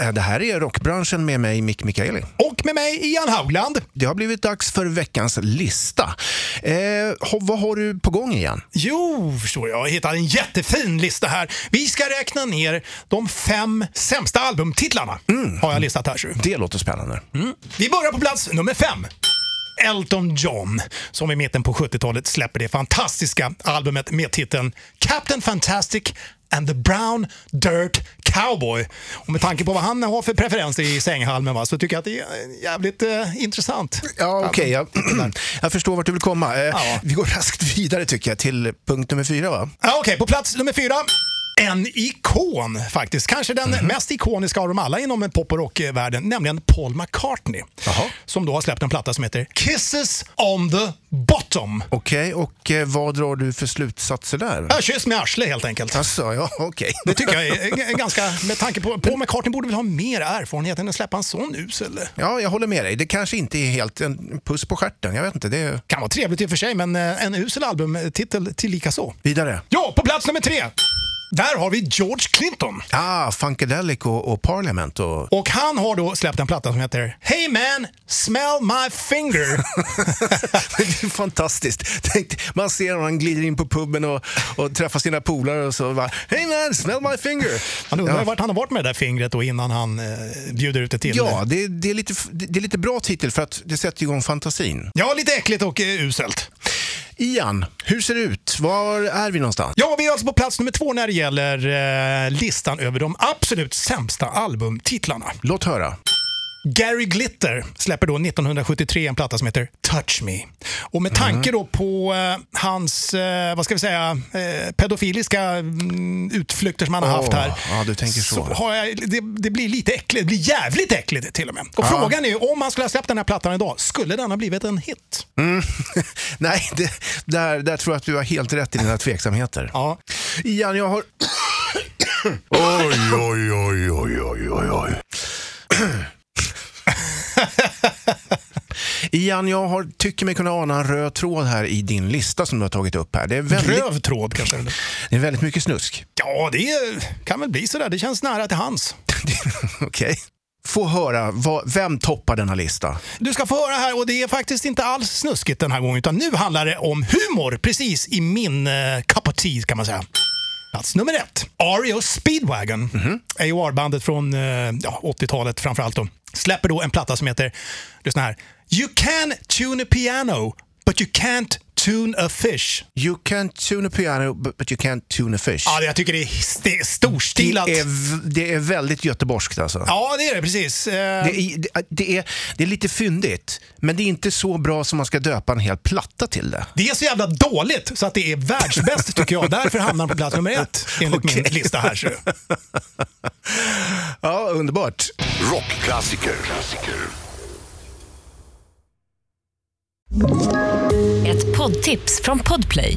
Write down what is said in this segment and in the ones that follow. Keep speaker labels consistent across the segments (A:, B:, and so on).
A: Eh, Det här är Rockbranschen med mig, Mick Mikaeli.
B: Och med mig Ian Haugland.
A: Det har blivit dags för veckans lista. Eh, ho- vad har du på gång igen?
B: Jo, förstår jag. Jag hittade en jättefin lista här. Vi ska räkna ner de fem sämsta albumtitlarna. Har jag listat här. så.
A: Det låter spännande.
B: Mm. Vi börjar på plats nummer fem. Elton John, som i mitten på 70-talet släpper det fantastiska albumet med titeln Captain Fantastic and the Brown Dirt Cowboy. Och med tanke på vad han har för preferenser i sänghalmen va, så tycker jag att det är jävligt eh, intressant.
A: Ja, okej. jag, jag förstår vart du vill komma. Eh,
B: Ja.
A: Vi går raskt vidare tycker jag till punkt nummer fyra. Va?
B: Ja, Okej, på plats nummer fyra. En ikon faktiskt. Kanske den
A: Mhm.
B: mest ikoniska av dem alla inom pop och rockvärlden, nämligen Paul McCartney.
A: Jaha.
B: Som då har släppt en platta som heter Kisses on the bottom.
A: Okej, och eh, vad drar du för slutsatser där?
B: Ja, Kyss med arsle helt enkelt.
A: Alltså, ja, okej.
B: Det tycker jag är g- ganska, med tanke på Paul McCartney borde väl ha mer erfarenhet än att släppa en sån usel.
A: Ja, jag håller med dig. Det kanske inte är helt en puss på stjärten. Jag vet inte. Det är...
B: Kan vara trevligt i och för sig, men eh, en usel albumtitel till lika så.
A: Vidare.
B: Ja, på plats nummer tre. Där har vi George Clinton.
A: Ah, Funkadelic och, och Parliament. Och...
B: Och han har då släppt en platta som heter Hey man, smell my finger.
A: Det är fantastiskt. Tänk, man ser honom, han glider in på puben och, och träffar sina polare och så bara Hey man, smell my finger!
B: Han undrar
A: Ja.
B: ju vart han har varit med det där fingret då innan han eh, bjuder ut det till.
A: Ja, det, det, är lite, f- det det är lite bra titel för att det sätter igång fantasin.
B: ja, lite äckligt och eh, uselt.
A: Ian, hur ser det ut? Var är vi någonstans?
B: Ja, vi är alltså på plats nummer två när det gäller eh, listan över de absolut sämsta albumtitlarna.
A: Låt höra.
B: Gary Glitter släpper då 1973 en platta som heter Touch Me. Och med tanke då på eh, hans, eh, vad ska vi säga, eh, pedofiliska mm, utflykter som han har
A: Åh,
B: haft här.
A: ja, du tänker så.
B: har jag, det, det blir lite äckligt, det blir jävligt äckligt till och med. Och frågan är ju, om han skulle ha släppt den här plattan idag, skulle den ha blivit en hit?
A: Nej, det, där, där tror jag att du har helt rätt i dina tveksamheter.
B: Ja.
A: Ian, jag har... oj, oj, oj, oj, oj, oj, oj. Ian, jag har, tycker mig kunna ana en röd tråd här i din lista som du har tagit upp här. Det är väldigt,
B: Röv tråd kanske? eller?
A: det är väldigt mycket snusk.
B: Ja, det är- kan väl bli sådär. Det känns nära till hans.
A: Okej. Få höra, vad, vem toppar denna lista?
B: Du ska få höra här och det är faktiskt inte alls snuskigt den här gången utan nu handlar det om humor precis i min uh, cup of tea kan man säga. Plats nummer ett, REO Speedwagon. AOR-bandet från eh, ja, 80-talet framförallt då. Släpper då en platta som heter, lyssna här, You can tune a piano but you can't tune a fish.
A: You can tune a piano but but you can't tune a fish.
B: Ja, det- jag tycker det är st- storstilat.
A: det, är, v- det är väldigt göteborgskt alltså.
B: Ja, det är det precis. Eh,
A: Det är, det, det, är, det är lite fyndigt, men det är inte så bra som man ska döpa en hel platta till det.
B: Det är så jävla dåligt så att det är världsbäst tycker jag. Därför hamnar han på plats nummer ett enligt min lista här. Så.
A: Ja, underbart.
C: Rockklassiker. Klassiker.
D: Ett poddtips från Podplay.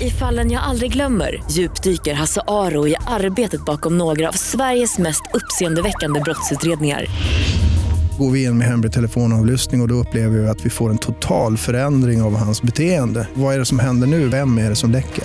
D: I fallen jag aldrig glömmer djupdyker Hasse Aro i arbetet bakom några av Sveriges mest uppseendeväckande brottsutredningar.
E: går vi in med hemlig telefonavlyssning och, och då upplever vi att vi får en total förändring av hans beteende. Vad är det som händer nu? Vem är det som läcker?